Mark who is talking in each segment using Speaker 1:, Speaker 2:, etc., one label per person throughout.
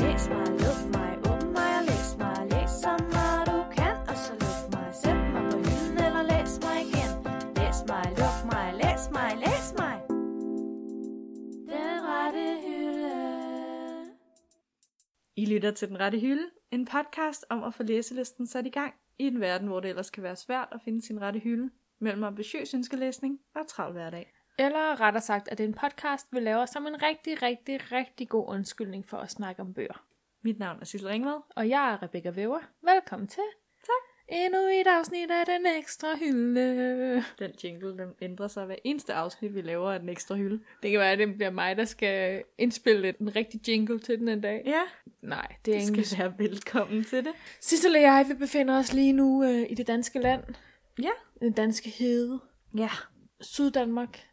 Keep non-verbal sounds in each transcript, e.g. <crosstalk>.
Speaker 1: læs mig, luk mig, åbn mig og læs mig. Læs så meget du kan, og så luk mig. Sæt mig på hylden eller læs mig igen. Læs mig, luk mig, læs mig, læs mig. Den rette hylde.
Speaker 2: I lytter til Den Rette Hylde, en podcast om at få læselisten sat i gang i en verden, hvor det ellers kan være svært at finde sin rette hylde mellem ambitiøs ønskelæsning og travl hverdag.
Speaker 3: Eller rettere sagt, at det er en podcast, vi laver som en rigtig, rigtig, rigtig god undskyldning for at snakke om bøger.
Speaker 2: Mit navn er Sissel Ringvad.
Speaker 3: Og jeg er Rebecca Væver. Velkommen til.
Speaker 2: Tak.
Speaker 3: Endnu et afsnit af Den Ekstra Hylde.
Speaker 2: Den jingle, den ændrer sig hver eneste afsnit, vi laver af den ekstra hylde.
Speaker 3: Det kan være, at det bliver mig, der skal indspille en rigtig jingle til den en dag.
Speaker 2: Ja,
Speaker 3: Nej, det er
Speaker 2: det
Speaker 3: ingen...
Speaker 2: skal være velkommen til det.
Speaker 3: Sissel og jeg, vi befinder os lige nu øh, i det danske land.
Speaker 2: Ja.
Speaker 3: Den danske hede.
Speaker 2: Ja.
Speaker 3: Syddanmark.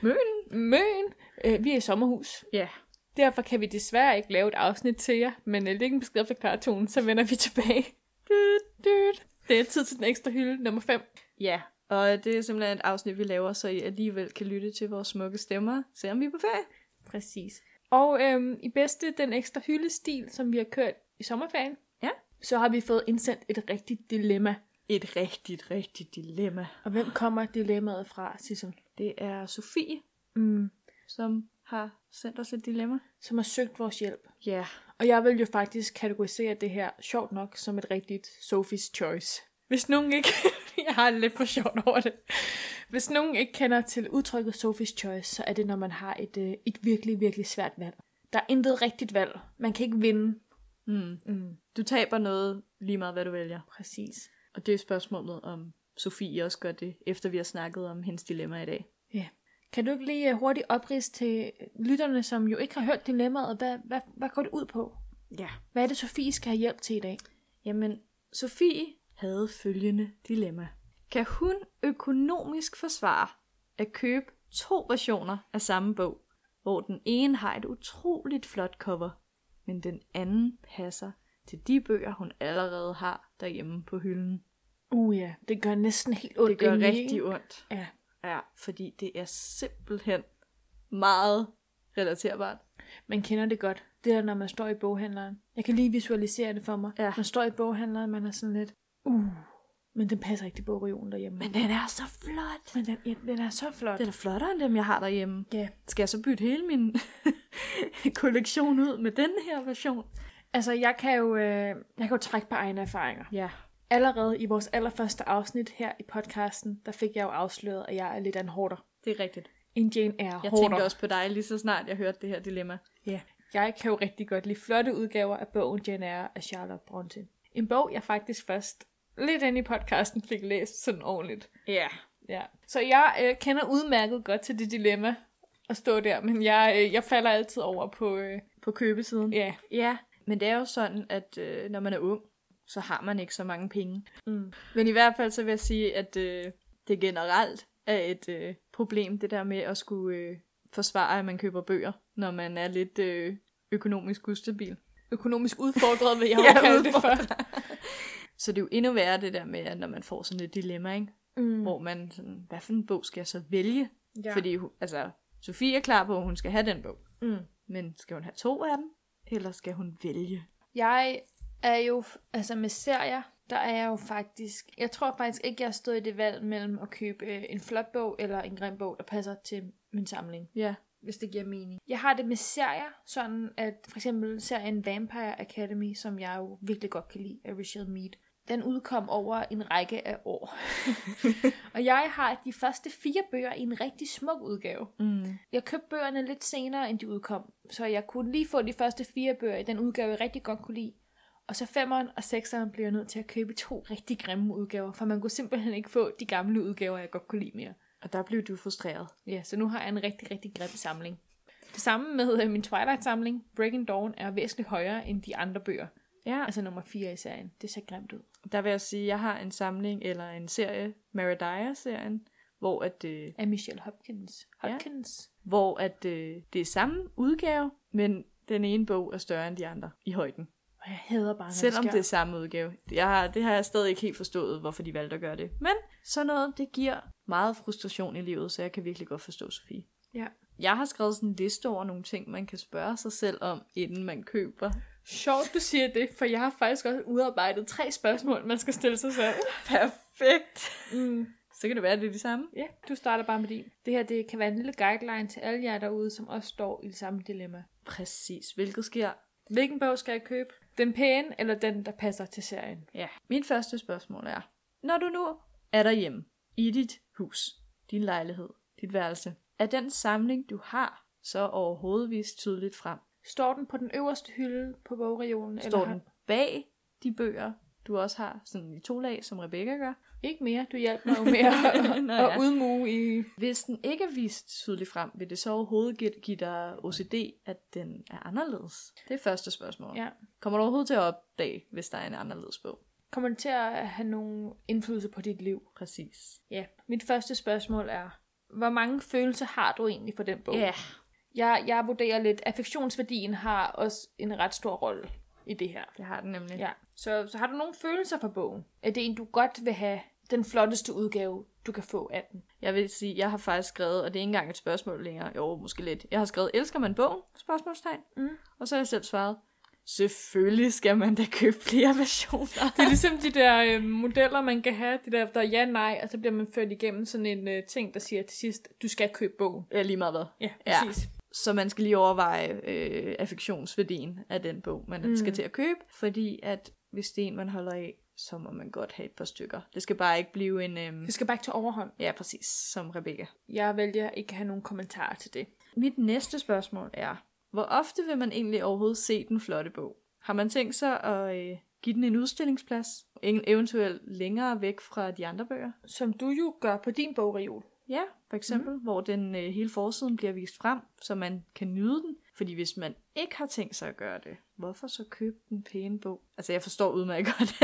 Speaker 2: Møn.
Speaker 3: <laughs> Møn. Øh, vi er i sommerhus.
Speaker 2: Ja.
Speaker 3: Derfor kan vi desværre ikke lave et afsnit til jer, men øh, læg en besked efter klartonen, så vender vi <laughs> tilbage. Dyt, dyt. Det er tid til den ekstra hylde, nummer 5.
Speaker 2: Ja, og det er simpelthen et afsnit, vi laver, så I alligevel kan lytte til vores smukke stemmer, selvom vi er på ferie.
Speaker 3: Præcis. Og øhm, i bedste den ekstra hyldestil, som vi har kørt i sommerferien,
Speaker 2: Ja.
Speaker 3: så har vi fået indsendt et rigtigt dilemma.
Speaker 2: Et rigtigt, rigtigt dilemma.
Speaker 3: Og hvem kommer dilemmaet fra, Sissel?
Speaker 2: Det er Sofie,
Speaker 3: Mm,
Speaker 2: som har sendt os et dilemma.
Speaker 3: som har søgt vores hjælp.
Speaker 2: Ja. Yeah.
Speaker 3: Og jeg vil jo faktisk kategorisere det her, sjovt nok, som et rigtigt Sophie's Choice. Hvis nogen ikke... <laughs> jeg har det lidt for sjovt over det. Hvis nogen ikke kender til udtrykket Sophie's Choice, så er det, når man har et, øh, et virkelig, virkelig svært valg. Der er intet rigtigt valg. Man kan ikke vinde.
Speaker 2: Mm.
Speaker 3: Mm,
Speaker 2: Du taber noget lige meget, hvad du vælger.
Speaker 3: præcis.
Speaker 2: Og det er spørgsmålet, om Sofie også gør det, efter vi har snakket om hendes dilemma i dag.
Speaker 3: Ja. Kan du ikke lige øh, hurtigt oprids til lytterne, som jo ikke har hørt dilemmaet, hvad, hvad, hvad går det ud på?
Speaker 2: Ja.
Speaker 3: Hvad er det, Sofie skal have hjælp til i dag?
Speaker 2: Jamen, Sofie havde følgende dilemma. Kan hun økonomisk forsvare at købe to versioner af samme bog, hvor den ene har et utroligt flot cover, men den anden passer til de bøger, hun allerede har derhjemme på hylden?
Speaker 3: Uh ja, det gør næsten helt ondt.
Speaker 2: Det gør
Speaker 3: indeni,
Speaker 2: rigtig
Speaker 3: ikke?
Speaker 2: ondt.
Speaker 3: Ja,
Speaker 2: Ja, fordi det er simpelthen meget relaterbart.
Speaker 3: Man kender det godt. Det der, når man står i boghandleren. Jeg kan lige visualisere det for mig.
Speaker 2: Ja.
Speaker 3: Man står i boghandleren, man er sådan lidt, uh, men den passer ikke til bogreolen derhjemme.
Speaker 2: Men den er så flot.
Speaker 3: men den, ja, den er så flot.
Speaker 2: Den er flottere end dem, jeg har derhjemme.
Speaker 3: Ja.
Speaker 2: Skal jeg så bytte hele min <laughs> kollektion ud med den her version?
Speaker 3: Altså, jeg kan, jo, øh, jeg kan jo trække på egne erfaringer.
Speaker 2: Ja.
Speaker 3: Allerede i vores allerførste afsnit her i podcasten, der fik jeg jo afsløret, at jeg er lidt af en hårder.
Speaker 2: Det er rigtigt.
Speaker 3: En Jane er
Speaker 2: Jeg
Speaker 3: hårder.
Speaker 2: tænkte også på dig lige så snart, jeg hørte det her dilemma.
Speaker 3: Ja. Jeg kan jo rigtig godt lide flotte udgaver af bogen Jane Eyre af Charlotte Bronte. En bog, jeg faktisk først lidt inde i podcasten fik læst sådan ordentligt.
Speaker 2: Ja.
Speaker 3: Ja. Så jeg øh, kender udmærket godt til det dilemma at stå der, men jeg, øh, jeg falder altid over på, øh,
Speaker 2: På købesiden.
Speaker 3: ja,
Speaker 2: ja. Men det er jo sådan, at øh, når man er ung, så har man ikke så mange penge.
Speaker 3: Mm.
Speaker 2: Men i hvert fald så vil jeg sige, at øh, det generelt er et øh, problem, det der med at skulle øh, forsvare, at man køber bøger, når man er lidt øh, økonomisk ustabil.
Speaker 3: økonomisk udfordret, <laughs> vil jeg
Speaker 2: Ja,
Speaker 3: jo kalde det for.
Speaker 2: Så det er jo endnu værre det der med, at når man får sådan et dilemma, ikke?
Speaker 3: Mm.
Speaker 2: hvor man sådan, hvad for en bog skal jeg så vælge?
Speaker 3: Ja.
Speaker 2: Ja. Fordi, hun- altså, Sofie er klar på, at hun skal have den bog.
Speaker 3: Mm.
Speaker 2: Men skal hun have to af dem? Eller skal hun vælge?
Speaker 3: Jeg er jo, altså med serier, der er jeg jo faktisk, jeg tror faktisk ikke, jeg stod i det valg mellem at købe øh, en flot bog eller en grim bog, der passer til min samling.
Speaker 2: Ja.
Speaker 3: hvis det giver mening. Jeg har det med serier, sådan at for eksempel serien Vampire Academy, som jeg jo virkelig godt kan lide af Richard Mead, den udkom over en række af <laughs> år. og jeg har de første fire bøger i en rigtig smuk udgave.
Speaker 2: Mm.
Speaker 3: Jeg købte bøgerne lidt senere, end de udkom, så jeg kunne lige få de første fire bøger i den udgave, jeg rigtig godt kunne lide. Og så femeren og sekseren blev jeg nødt til at købe to rigtig grimme udgaver, for man kunne simpelthen ikke få de gamle udgaver, jeg godt kunne lide mere.
Speaker 2: Og der blev du frustreret.
Speaker 3: Ja, så nu har jeg en rigtig, rigtig grim samling. Det samme med øh, min Twilight-samling. Breaking Dawn er væsentligt højere end de andre bøger.
Speaker 2: Ja.
Speaker 3: Altså nummer 4 i serien. Det ser grimt ud.
Speaker 2: Der vil jeg sige, at jeg har en samling eller en serie, Maradaya-serien, hvor at, øh,
Speaker 3: Af Michelle Hopkins.
Speaker 2: Ja.
Speaker 3: Hopkins.
Speaker 2: hvor at øh, det er samme udgave, men den ene bog er større end de andre i højden.
Speaker 3: Og jeg hader bare, når
Speaker 2: Selvom
Speaker 3: sker.
Speaker 2: det er samme udgave. Jeg har, det har jeg stadig ikke helt forstået, hvorfor de valgte at gøre det. Men sådan noget, det giver meget frustration i livet, så jeg kan virkelig godt forstå Sofie.
Speaker 3: Ja.
Speaker 2: Jeg har skrevet sådan en liste over nogle ting, man kan spørge sig selv om, inden man køber.
Speaker 3: Sjovt, du siger det, for jeg har faktisk også udarbejdet tre spørgsmål, man skal stille sig selv.
Speaker 2: Perfekt.
Speaker 3: Mm.
Speaker 2: Så kan det være, at det er de samme.
Speaker 3: Ja, du starter bare med din. Det her det kan være en lille guideline til alle jer derude, som også står i det samme dilemma.
Speaker 2: Præcis, hvilket sker.
Speaker 3: Hvilken bog skal jeg købe? Den pæne eller den, der passer til serien?
Speaker 2: Ja. Mit første spørgsmål er, når du nu er derhjemme, i dit hus, din lejlighed, dit værelse, er den samling, du har, så overhovedet vist tydeligt frem?
Speaker 3: Står den på den øverste hylde på bogreolen?
Speaker 2: Står
Speaker 3: har-
Speaker 2: den bag de bøger, du også har, sådan i to lag, som Rebecca gør?
Speaker 3: Ikke mere, du
Speaker 2: <laughs>
Speaker 3: hjalp mig jo med at,
Speaker 2: Nå
Speaker 3: at
Speaker 2: ja.
Speaker 3: udmue i...
Speaker 2: Hvis den ikke er vist tydeligt frem, vil det så overhovedet gi- give dig OCD, at den er anderledes? Det er første spørgsmål.
Speaker 3: Ja.
Speaker 2: Kommer du overhovedet til at opdage, hvis der er en anderledes bog?
Speaker 3: Kommer det til at have nogen indflydelse på dit liv?
Speaker 2: Præcis.
Speaker 3: Ja. Mit første spørgsmål er, hvor mange følelser har du egentlig for den bog?
Speaker 2: Ja,
Speaker 3: Jeg, jeg vurderer lidt, affektionsværdien har også en ret stor rolle i det her.
Speaker 2: det har den nemlig.
Speaker 3: Ja. Så, så har du nogle følelser for bogen? Er det en, du godt vil have den flotteste udgave, du kan få af den?
Speaker 2: Jeg vil sige, jeg har faktisk skrevet, og det er ikke engang et spørgsmål længere, jo, måske lidt. Jeg har skrevet, elsker man bogen? Spørgsmålstegn.
Speaker 3: Mm.
Speaker 2: Og så har jeg selv svaret, selvfølgelig skal man da købe flere versioner.
Speaker 3: Det er ligesom de der øh, modeller, man kan have. Det der, der er ja, nej, og så bliver man ført igennem sådan en øh, ting, der siger til sidst, du skal købe bogen.
Speaker 2: Ja, lige meget hvad.
Speaker 3: Ja,
Speaker 2: Ja.
Speaker 3: præcis.
Speaker 2: Så man skal lige overveje øh, affektionsværdien af den bog, man
Speaker 3: Mm.
Speaker 2: mm. skal til at købe. Fordi at hvis det er en, man holder af, så må man godt have et par stykker. Det skal bare ikke blive en... Øh,
Speaker 3: Det skal bare ikke tage overhånd.
Speaker 2: ja, præcis, som Rebecca.
Speaker 3: Jeg vælger ikke at have nogen kommentarer til det.
Speaker 2: Mit næste spørgsmål er, hvor ofte vil man egentlig overhovedet se den flotte bog? Har man tænkt sig at øh, give den en udstillingsplads? En eventuelt længere væk fra de andre bøger?
Speaker 3: Som du jo gør på din bogreol.
Speaker 2: Ja, for eksempel, mm. hvor den øh, hele forsiden bliver vist frem, så man kan nyde den. Fordi hvis man ikke har tænkt sig at gøre det, hvorfor så købe den pæne bog? Altså, jeg forstår udmærket <laughs> godt,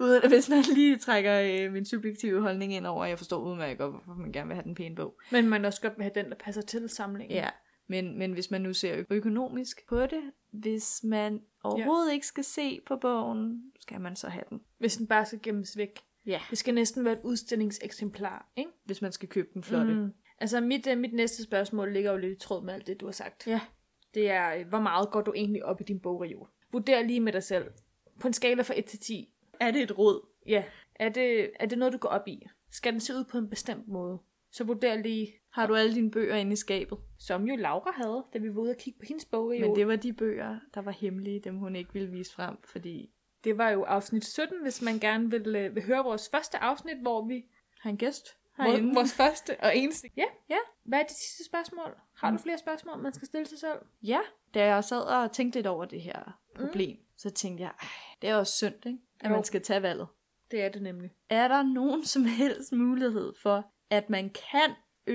Speaker 2: uden, hvis man lige trækker øh, min subjektive holdning ind over, jeg forstår udmærket godt, hvorfor man gerne vil have den pæne bog.
Speaker 3: Men man også godt vil have den, der passer til samlingen.
Speaker 2: Ja, men, men hvis man nu ser ø- økonomisk på det, hvis man overhovedet ja. ikke skal se på bogen, skal man så have den.
Speaker 3: Hvis den bare skal gemmes væk.
Speaker 2: Ja.
Speaker 3: Det skal næsten være et udstillingseksemplar, ikke?
Speaker 2: Hvis man skal købe den flotte. Mm.
Speaker 3: Altså, mit, øh, mit næste spørgsmål ligger jo lidt i tråd med alt det, du har sagt.
Speaker 2: Ja.
Speaker 3: Det er, øh, hvor meget går du egentlig op i din bogreol? Vurder lige med dig selv. På en skala fra 1 til 10.
Speaker 2: Er det et råd?
Speaker 3: Ja. Er det, er det noget, du går op i? Skal den se ud på en bestemt måde? Så vurder lige,
Speaker 2: Har du alle dine bøger inde i skabet?
Speaker 3: som jo Laura havde, da vi var ude og kigge på hendes bogreol.
Speaker 2: Men det var de bøger, der var hemmelige, dem hun ikke ville vise frem, fordi
Speaker 3: Det var jo afsnit 17, hvis man gerne vil, øh, vil høre vores første afsnit, hvor vi...
Speaker 2: har en gæst herinde.
Speaker 3: Hvor, vores første og eneste. Mm. Ja,
Speaker 2: Ja.
Speaker 3: Hvad er det sidste spørgsmål? Har du flere spørgsmål, man skal stille sig selv?
Speaker 2: Ja, da jeg sad og tænkte lidt over det her problem, mm. så tænkte jeg, "Ej, det er også synd, ikke? at
Speaker 3: Jo.
Speaker 2: man skal tage valget.
Speaker 3: Det er det nemlig.
Speaker 2: Er der nogen som helst mulighed for, at man kan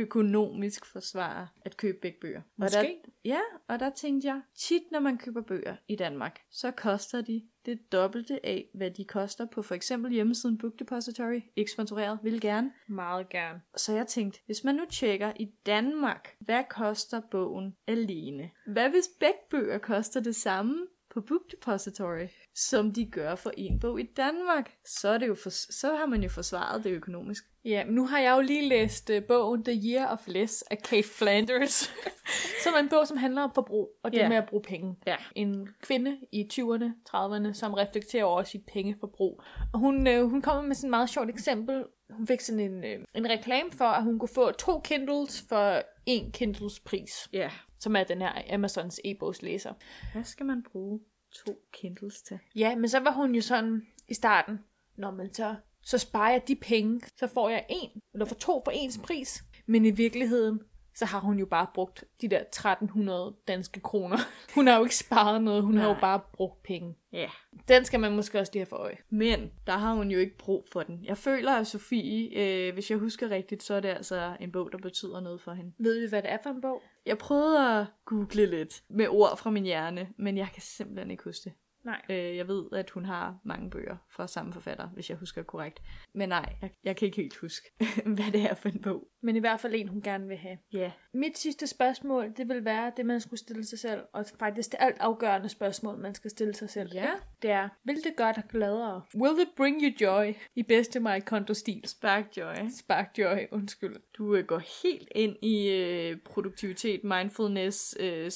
Speaker 2: økonomisk forsvare at købe begge bøger?
Speaker 3: Måske.
Speaker 2: Og der, ja, og der tænkte jeg, tit når man køber bøger i Danmark, så koster de det dobbelte af, hvad de koster på for eksempel hjemmesiden Book Depository, ikke sponsoreret, vil gerne.
Speaker 3: Meget gerne.
Speaker 2: Så jeg tænkte, hvis man nu tjekker i Danmark, hvad koster bogen alene? Hvad hvis begge bøger koster det samme på Book Depository, som de gør for en bog i Danmark? Så, er det jo for, så har man jo forsvaret det økonomisk.
Speaker 3: Ja, men nu har jeg jo lige læst uh, bogen The Year of Less af Kate Flanders, <laughs> som er en bog, som handler om forbrug, og det
Speaker 2: Ja.
Speaker 3: med at bruge penge.
Speaker 2: Ja.
Speaker 3: En kvinde i 20'erne, 30'erne, som reflekterer over sit pengeforbrug. Og hun, øh, hun kommer med sådan et meget sjovt eksempel. Hun fik sådan en, øh, en reklame for, at hun kunne få to Kindles for en Kindles pris,
Speaker 2: Ja.
Speaker 3: som er den her Amazons e-bogslæser.
Speaker 2: Hvad skal man bruge to Kindles til?
Speaker 3: Ja, men så var hun jo sådan i starten, når man så, så sparer jeg de penge, så får jeg en, eller får to for ens pris. Men i virkeligheden, så har hun jo bare brugt de der 1300 danske kroner. <laughs> Hun har jo ikke sparet noget, hun Nej. har jo
Speaker 2: Nej.
Speaker 3: bare brugt penge.
Speaker 2: Ja.
Speaker 3: Den skal man måske også lige have for øje.
Speaker 2: Men der har hun jo ikke brug for den. Jeg føler, at Sofie, øh, hvis jeg husker rigtigt, så er det altså en bog, der betyder noget for hende.
Speaker 3: Ved vi, hvad det er for en bog?
Speaker 2: Jeg prøvede at google lidt med ord fra min hjerne, men jeg kan simpelthen ikke huske det.
Speaker 3: Nej.
Speaker 2: Øh, jeg ved, at hun har mange bøger fra samme forfatter, hvis jeg husker korrekt. Men nej, jeg, jeg kan ikke helt huske, <laughs> hvad det er for en bog.
Speaker 3: Men i hvert fald en, hun gerne vil have.
Speaker 2: Ja,
Speaker 3: Mit sidste spørgsmål, det vil være det, man skulle stille sig selv, og faktisk det alt afgørende spørgsmål, man skal stille sig selv.
Speaker 2: Ja.
Speaker 3: Det er, vil det gøre dig gladere? Will it bring you joy? I bedste Marie Kondo-stil.
Speaker 2: Spark Joy.
Speaker 3: Spark joy, undskyld.
Speaker 2: Du øh, går helt ind i øh, produktivitet, mindfulness, øh,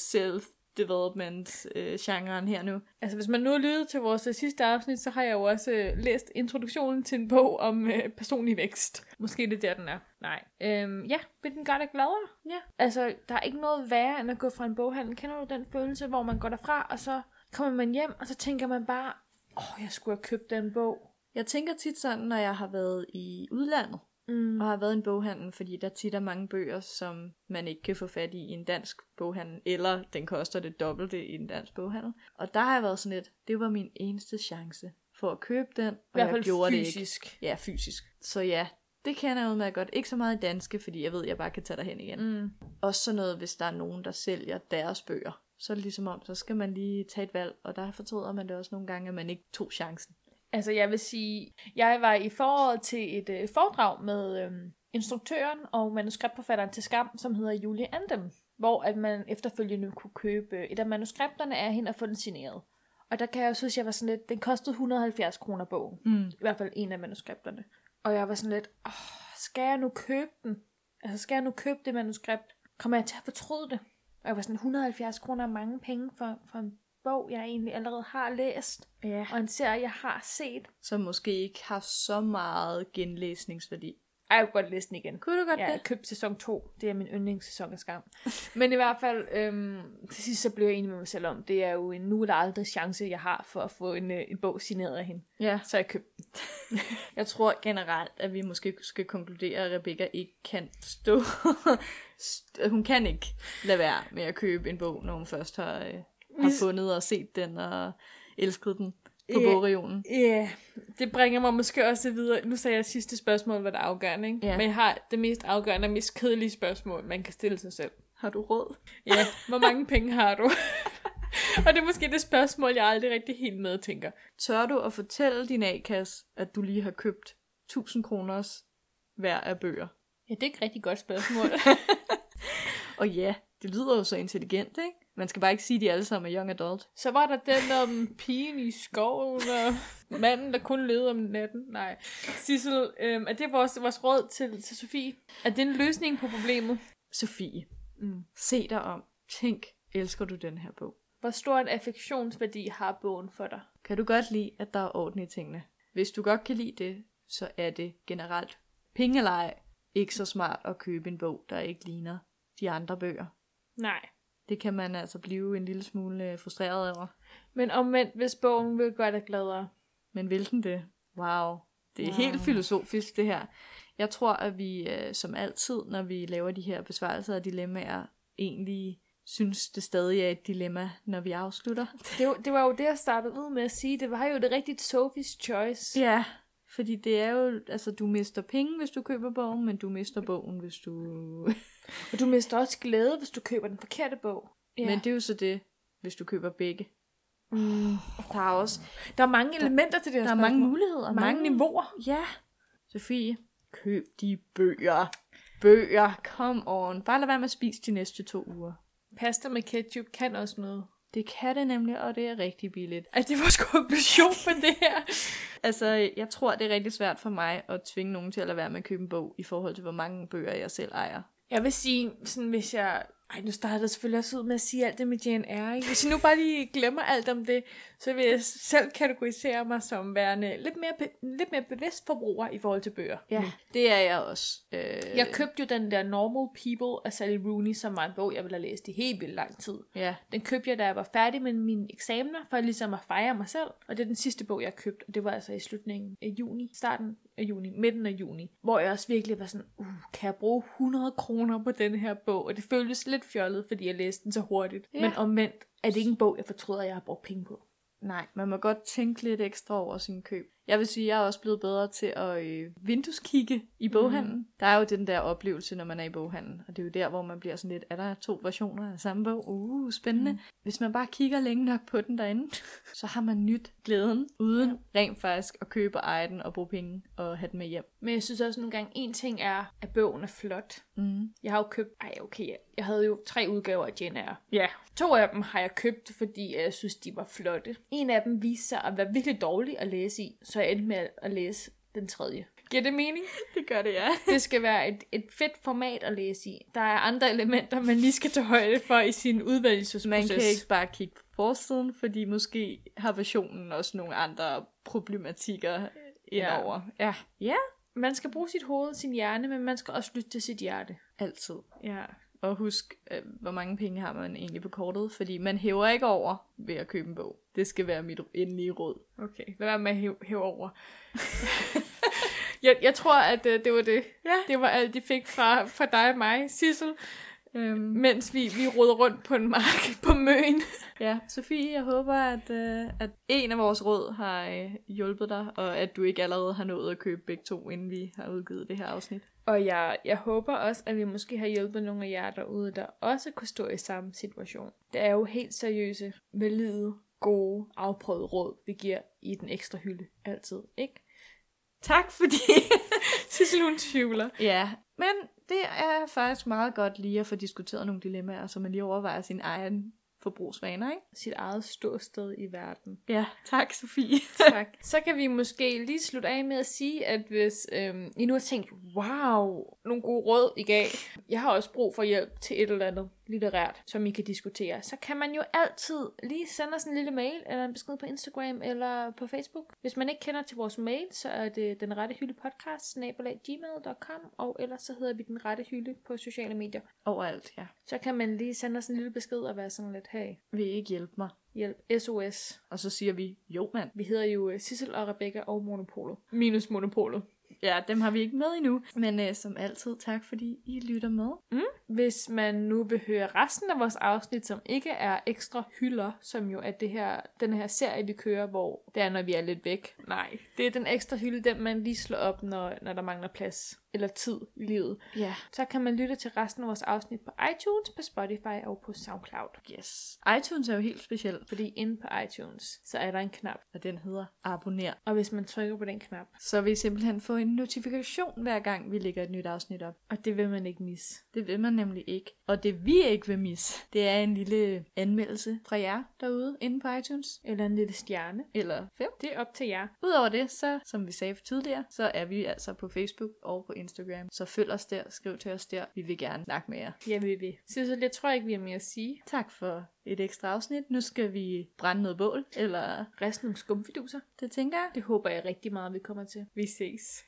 Speaker 2: self-development-genren her nu.
Speaker 3: Altså, hvis man nu har lyttet til vores øh, sidste afsnit, så har jeg jo også øh, læst introduktionen til en bog om øh, personlig vækst. Måske det er der, den er. Nej. Øhm, ja, vil den gøre dig gladere?
Speaker 2: Ja.
Speaker 3: Altså, der er ikke noget værre end at gå fra en boghandel. Kender du den følelse, hvor man går derfra, og så kommer man hjem, og så tænker man bare, åh, oh, jeg skulle have købt den bog.
Speaker 2: Jeg tænker tit sådan, når jeg har været i udlandet,
Speaker 3: Mm.
Speaker 2: og har været i en boghandel, fordi der tit er mange bøger, som man ikke kan få fat i i en dansk boghandel, eller den koster det dobbelte i en dansk boghandel. Og der har jeg været sådan lidt, det var min eneste chance for at købe den, og
Speaker 3: I hvert
Speaker 2: jeg
Speaker 3: fald
Speaker 2: gjorde det ikke.
Speaker 3: fysisk.
Speaker 2: Ja, fysisk. Så ja, det kan jeg udmærket godt. Ikke så meget i danske, fordi jeg ved, at jeg bare kan tage derhen igen.
Speaker 3: Mm.
Speaker 2: Også sådan noget, hvis der er nogen, der sælger deres bøger. Så er det ligesom om, så skal man lige tage et valg, og der fortryder man det også nogle gange, at man ikke tog chancen.
Speaker 3: Altså, jeg vil sige, jeg var i foråret til et øh, foredrag med øh, instruktøren og manuskriptforfatteren til Skam, som hedder Julie Andem, hvor at man efterfølgende kunne købe øh, et af manuskripterne af hende og få den signeret. Og der kan jeg jo synes, jeg var sådan lidt, den kostede 170 kroner bogen,
Speaker 2: Mm.
Speaker 3: i hvert fald en af manuskripterne. Og jeg var sådan lidt, Åh, skal jeg nu købe den? Altså, skal jeg nu købe det manuskript? Kommer jeg til at fortryde det? Og jeg var sådan, 170 kroner er mange penge for, for en bog, jeg egentlig allerede har læst,
Speaker 2: Ja.
Speaker 3: og en serie, jeg har set.
Speaker 2: Som måske ikke har så meget genlæsningsværdi.
Speaker 3: Ej, jeg kunne godt læse den igen.
Speaker 2: Kunne du godt
Speaker 3: Ja, jeg købte sæson 2. Det er min yndlingssæson af skam. <laughs> Men i hvert fald, øhm, til sidst så blev jeg enig med mig selv om, det er jo en nu eller aldrig chance, jeg har for at få en, øh, en bog signeret af hende.
Speaker 2: Ja.
Speaker 3: Så jeg købte den.
Speaker 2: <laughs> Jeg tror generelt, at vi måske skal konkludere, at Rebecca ikke kan stå. st- hun kan ikke lade være med at købe en bog, når hun først har, øh, har
Speaker 3: Hvis-
Speaker 2: fundet og set den og elsket den på
Speaker 3: Ja.
Speaker 2: bogregionen.
Speaker 3: Ja, yeah. det bringer mig måske også videre. Nu sagde jeg sidste spørgsmål, hvad der er afgørende, ikke?
Speaker 2: Ja.
Speaker 3: Men jeg har det mest afgørende og mest kedelige spørgsmål, man kan stille sig selv.
Speaker 2: Har du råd?
Speaker 3: Ja, hvor mange penge har du? <laughs> og det er måske det spørgsmål, jeg aldrig rigtig helt med tænker.
Speaker 2: Tør du at fortælle din A-kasse, at du lige har købt 1000 kroners hver af bøger?
Speaker 3: Ja, det er ikke et rigtig godt spørgsmål. <laughs>
Speaker 2: Og ja, det lyder jo så intelligent, ikke? Man skal bare ikke sige, at de alle sammen er young adult.
Speaker 3: Så var der den om pigen i skoven, og manden, der kun levede om natten. Nej. Sissel, øhm, er det vores, vores råd til, til Sofie? Er det en løsning på problemet?
Speaker 2: Sofie,
Speaker 3: Mm.
Speaker 2: se dig om. Tænk, elsker du den her bog?
Speaker 3: Hvor stor en affektionsværdi har bogen for dig?
Speaker 2: Kan du godt lide, at der er orden i tingene? Hvis du godt kan lide det, så er det generelt penge eller ej, ikke så smart at købe en bog, der ikke ligner de andre bøger.
Speaker 3: Nej.
Speaker 2: Det kan man altså blive en lille smule øh, frustreret over.
Speaker 3: Men omvendt, hvis bogen vil gøre dig gladere.
Speaker 2: Men hvilken det? Wow. Det er wow. helt filosofisk, det her. Jeg tror, at vi øh, som altid, når vi laver de her besvarelser og dilemmaer, egentlig synes, det stadig er et dilemma, når vi afslutter.
Speaker 3: Det, var- det var jo det, jeg startede ud med at sige. Det var jo det rigtigt Sofies choice.
Speaker 2: Ja, fordi det er jo, altså du mister penge, hvis du køber bogen, men du mister bogen, hvis du...
Speaker 3: Og du mister også glæde, hvis du køber den forkerte bog.
Speaker 2: Ja. <laughs> Men det er jo så det, hvis du køber begge. Mm. Der er også
Speaker 3: der er mange elementer til det her
Speaker 2: der er mange
Speaker 3: spørgsmål.
Speaker 2: muligheder.
Speaker 3: mange, mange niveauer.
Speaker 2: Ja. Sofie, køb de bøger. Bøger, come on. Bare lad være med at spise de næste to uger.
Speaker 3: Pasta med ketchup kan også noget.
Speaker 2: Det kan det nemlig, og det er rigtig billigt.
Speaker 3: Er det vores konklusion på det her?
Speaker 2: Altså, jeg tror, det er rigtig svært for mig at tvinge nogen til at lade være med at købe en bog, i forhold til, hvor mange bøger jeg selv ejer.
Speaker 3: <laughs> Jeg vil sige, sådan hvis jeg... Ej, nu starter jeg selvfølgelig også ud med at sige alt det med Jane Eyre. Ikke? Hvis jeg nu bare lige glemmer alt om det, så vil jeg selv kategorisere mig som værende lidt mere, be- lidt mere bevidst forbruger i forhold til bøger.
Speaker 2: Ja. Det er jeg også. Øh,
Speaker 3: Jeg købte jo den der Normal People af Sally Rooney, som var en bog, jeg ville have læst i helt vildt lang tid.
Speaker 2: ja.
Speaker 3: Den købte jeg, da jeg var færdig med mine eksamener, for ligesom at fejre mig selv. Og det er den sidste bog, jeg købte, og det var altså i slutningen af juni, starten af juni, midten af juni, hvor jeg også virkelig var sådan, uh, kan jeg bruge 100 kroner på den her bog? Og det føltes lidt fjollet, fordi jeg læste den så hurtigt.
Speaker 2: Ja.
Speaker 3: Ja. Men omvendt er det ikke en bog, jeg fortryder, at jeg har brugt penge på.
Speaker 2: Nej, man må godt tænke lidt ekstra over sin køb. Jeg vil sige, at jeg er også blevet bedre til at øh, vindueskigge i boghandlen. Mm. Der er jo den der oplevelse, når man er i boghandlen, og det er jo der, hvor man bliver sådan lidt, er der to versioner af samme bog? Uh, spændende. Mm. Hvis man bare kigger længe nok på den derinde, <laughs> så har man nyt glæden, uden ja. rent faktisk at købe og eje den og bruge penge og have den med hjem.
Speaker 3: Men jeg synes også nogle gange, en ting er, at bogen er flot.
Speaker 2: Mm.
Speaker 3: Jeg har jo købt... Ej, okay. jeg- Jeg havde jo tre udgaver af Jane Eyre.
Speaker 2: Ja.
Speaker 3: To af dem har jeg købt, fordi jeg synes, de var flotte. En af dem viste sig at være virkelig dårlig at læse i, så jeg endte med at læse den tredje. Giver det
Speaker 2: <laughs>
Speaker 3: mening?
Speaker 2: Det gør det, ja.
Speaker 3: Det skal være et, et fedt format at læse i. Der er andre elementer, man lige skal tage højde for i sin
Speaker 2: Man
Speaker 3: udvalgelsesproces.
Speaker 2: kan ikke bare kigge på forsiden, fordi måske har versionen også nogle andre problematikker
Speaker 3: Ja.
Speaker 2: indover. Ja. Ja.
Speaker 3: Man skal bruge sit hoved og sin hjerne, men man skal også lytte til sit hjerte.
Speaker 2: Altid.
Speaker 3: Ja.
Speaker 2: Og husk, øh, hvor mange penge har man egentlig på kortet, fordi man hæver ikke over ved at købe en bog. Det skal være mit endelige råd.
Speaker 3: Okay, lad være med at hæve, hæve over. <laughs> jeg, jeg tror, at øh, det var det.
Speaker 2: Ja.
Speaker 3: Det var alt, de fik fra, fra dig og mig, Sissel. Øhm. Mens vi, vi rodede rundt på en mark <laughs> på møen.
Speaker 2: Ja, Sofie, jeg håber, at, øh, at en af vores råd har øh, hjulpet dig, og at du ikke allerede har nået at købe begge to, inden vi har udgivet det her afsnit.
Speaker 3: Og jeg, jeg håber også, at vi måske har hjulpet nogle af jer derude, der også kunne stå i samme situation. Det er jo helt seriøse, valide, gode, afprøvede råd, vi giver i den ekstra hylde. Altid, ikke?
Speaker 2: Tak fordi...
Speaker 3: <laughs> Sissel, hun tvivler.
Speaker 2: ja, men det er faktisk meget godt lige at få diskuteret nogle dilemmaer, så man lige overvejer sin egen forbrugsvaner, ikke?
Speaker 3: Sit eget ståsted i verden.
Speaker 2: Ja, tak Sofie.
Speaker 3: Tak. Så kan vi måske lige slutte af med at sige, at hvis øhm, I nu har tænkt, wow, nogle gode råd i dag, jeg har også brug for hjælp til et eller andet litterært, som I kan diskutere, så kan man jo altid lige sende os en lille mail, eller en besked på Instagram, eller på Facebook. Hvis man ikke kender til vores mail, så er det den rette hylde podcast, gmail.com, og ellers så hedder vi den rette hylde på sociale medier.
Speaker 2: Overalt, ja.
Speaker 3: Så kan man lige sende os en lille besked og være sådan lidt, hey,
Speaker 2: Vil I ikke hjælpe mig?
Speaker 3: hjælp, SOS.
Speaker 2: Og så siger vi, jo mand.
Speaker 3: Vi hedder jo øh, Sissel og Rebecca og Monopolet. Minus Monopolet.
Speaker 2: Ja, dem har vi ikke med endnu. Men øh, som altid, tak fordi I lytter med.
Speaker 3: Hvis man nu vil høre resten af vores afsnit, som ikke er ekstra hylder, som jo er det her, den her serie, vi kører, hvor det er, når vi er lidt væk. Nej, det er den ekstra hylde, den man lige slår op, når, når der mangler plads eller tid i livet.
Speaker 2: Ja.
Speaker 3: Så kan man lytte til resten af vores afsnit på iTunes, på Spotify og på SoundCloud.
Speaker 2: Yes. iTunes er jo helt speciel,
Speaker 3: Fordi inde på iTunes, så er der en knap.
Speaker 2: og den hedder abonner.
Speaker 3: Og hvis man trykker på den knap,
Speaker 2: Så vil I simpelthen få en notifikation, hver gang vi lægger et nyt afsnit op.
Speaker 3: og det vil man ikke misse.
Speaker 2: Det vil man nemlig ikke. Og det vi ikke vil misse, det er en lille anmeldelse fra jer derude inde på iTunes.
Speaker 3: Eller en lille stjerne.
Speaker 2: Eller fem.
Speaker 3: Det er op til jer.
Speaker 2: Udover det, så som vi sagde for tidligere, så er vi altså på Facebook og på Instagram. Så følg os der, skriv til os der. Vi vil gerne snakke med jer.
Speaker 3: Jeg vil vi. Sissel, jeg tror ikke, vi har mere at sige.
Speaker 2: Tak for et ekstra afsnit. Nu skal vi brænde noget bål, eller
Speaker 3: Resten nogle skumfiduser.
Speaker 2: det tænker jeg.
Speaker 3: Det håber jeg rigtig meget, vi kommer til. Vi ses.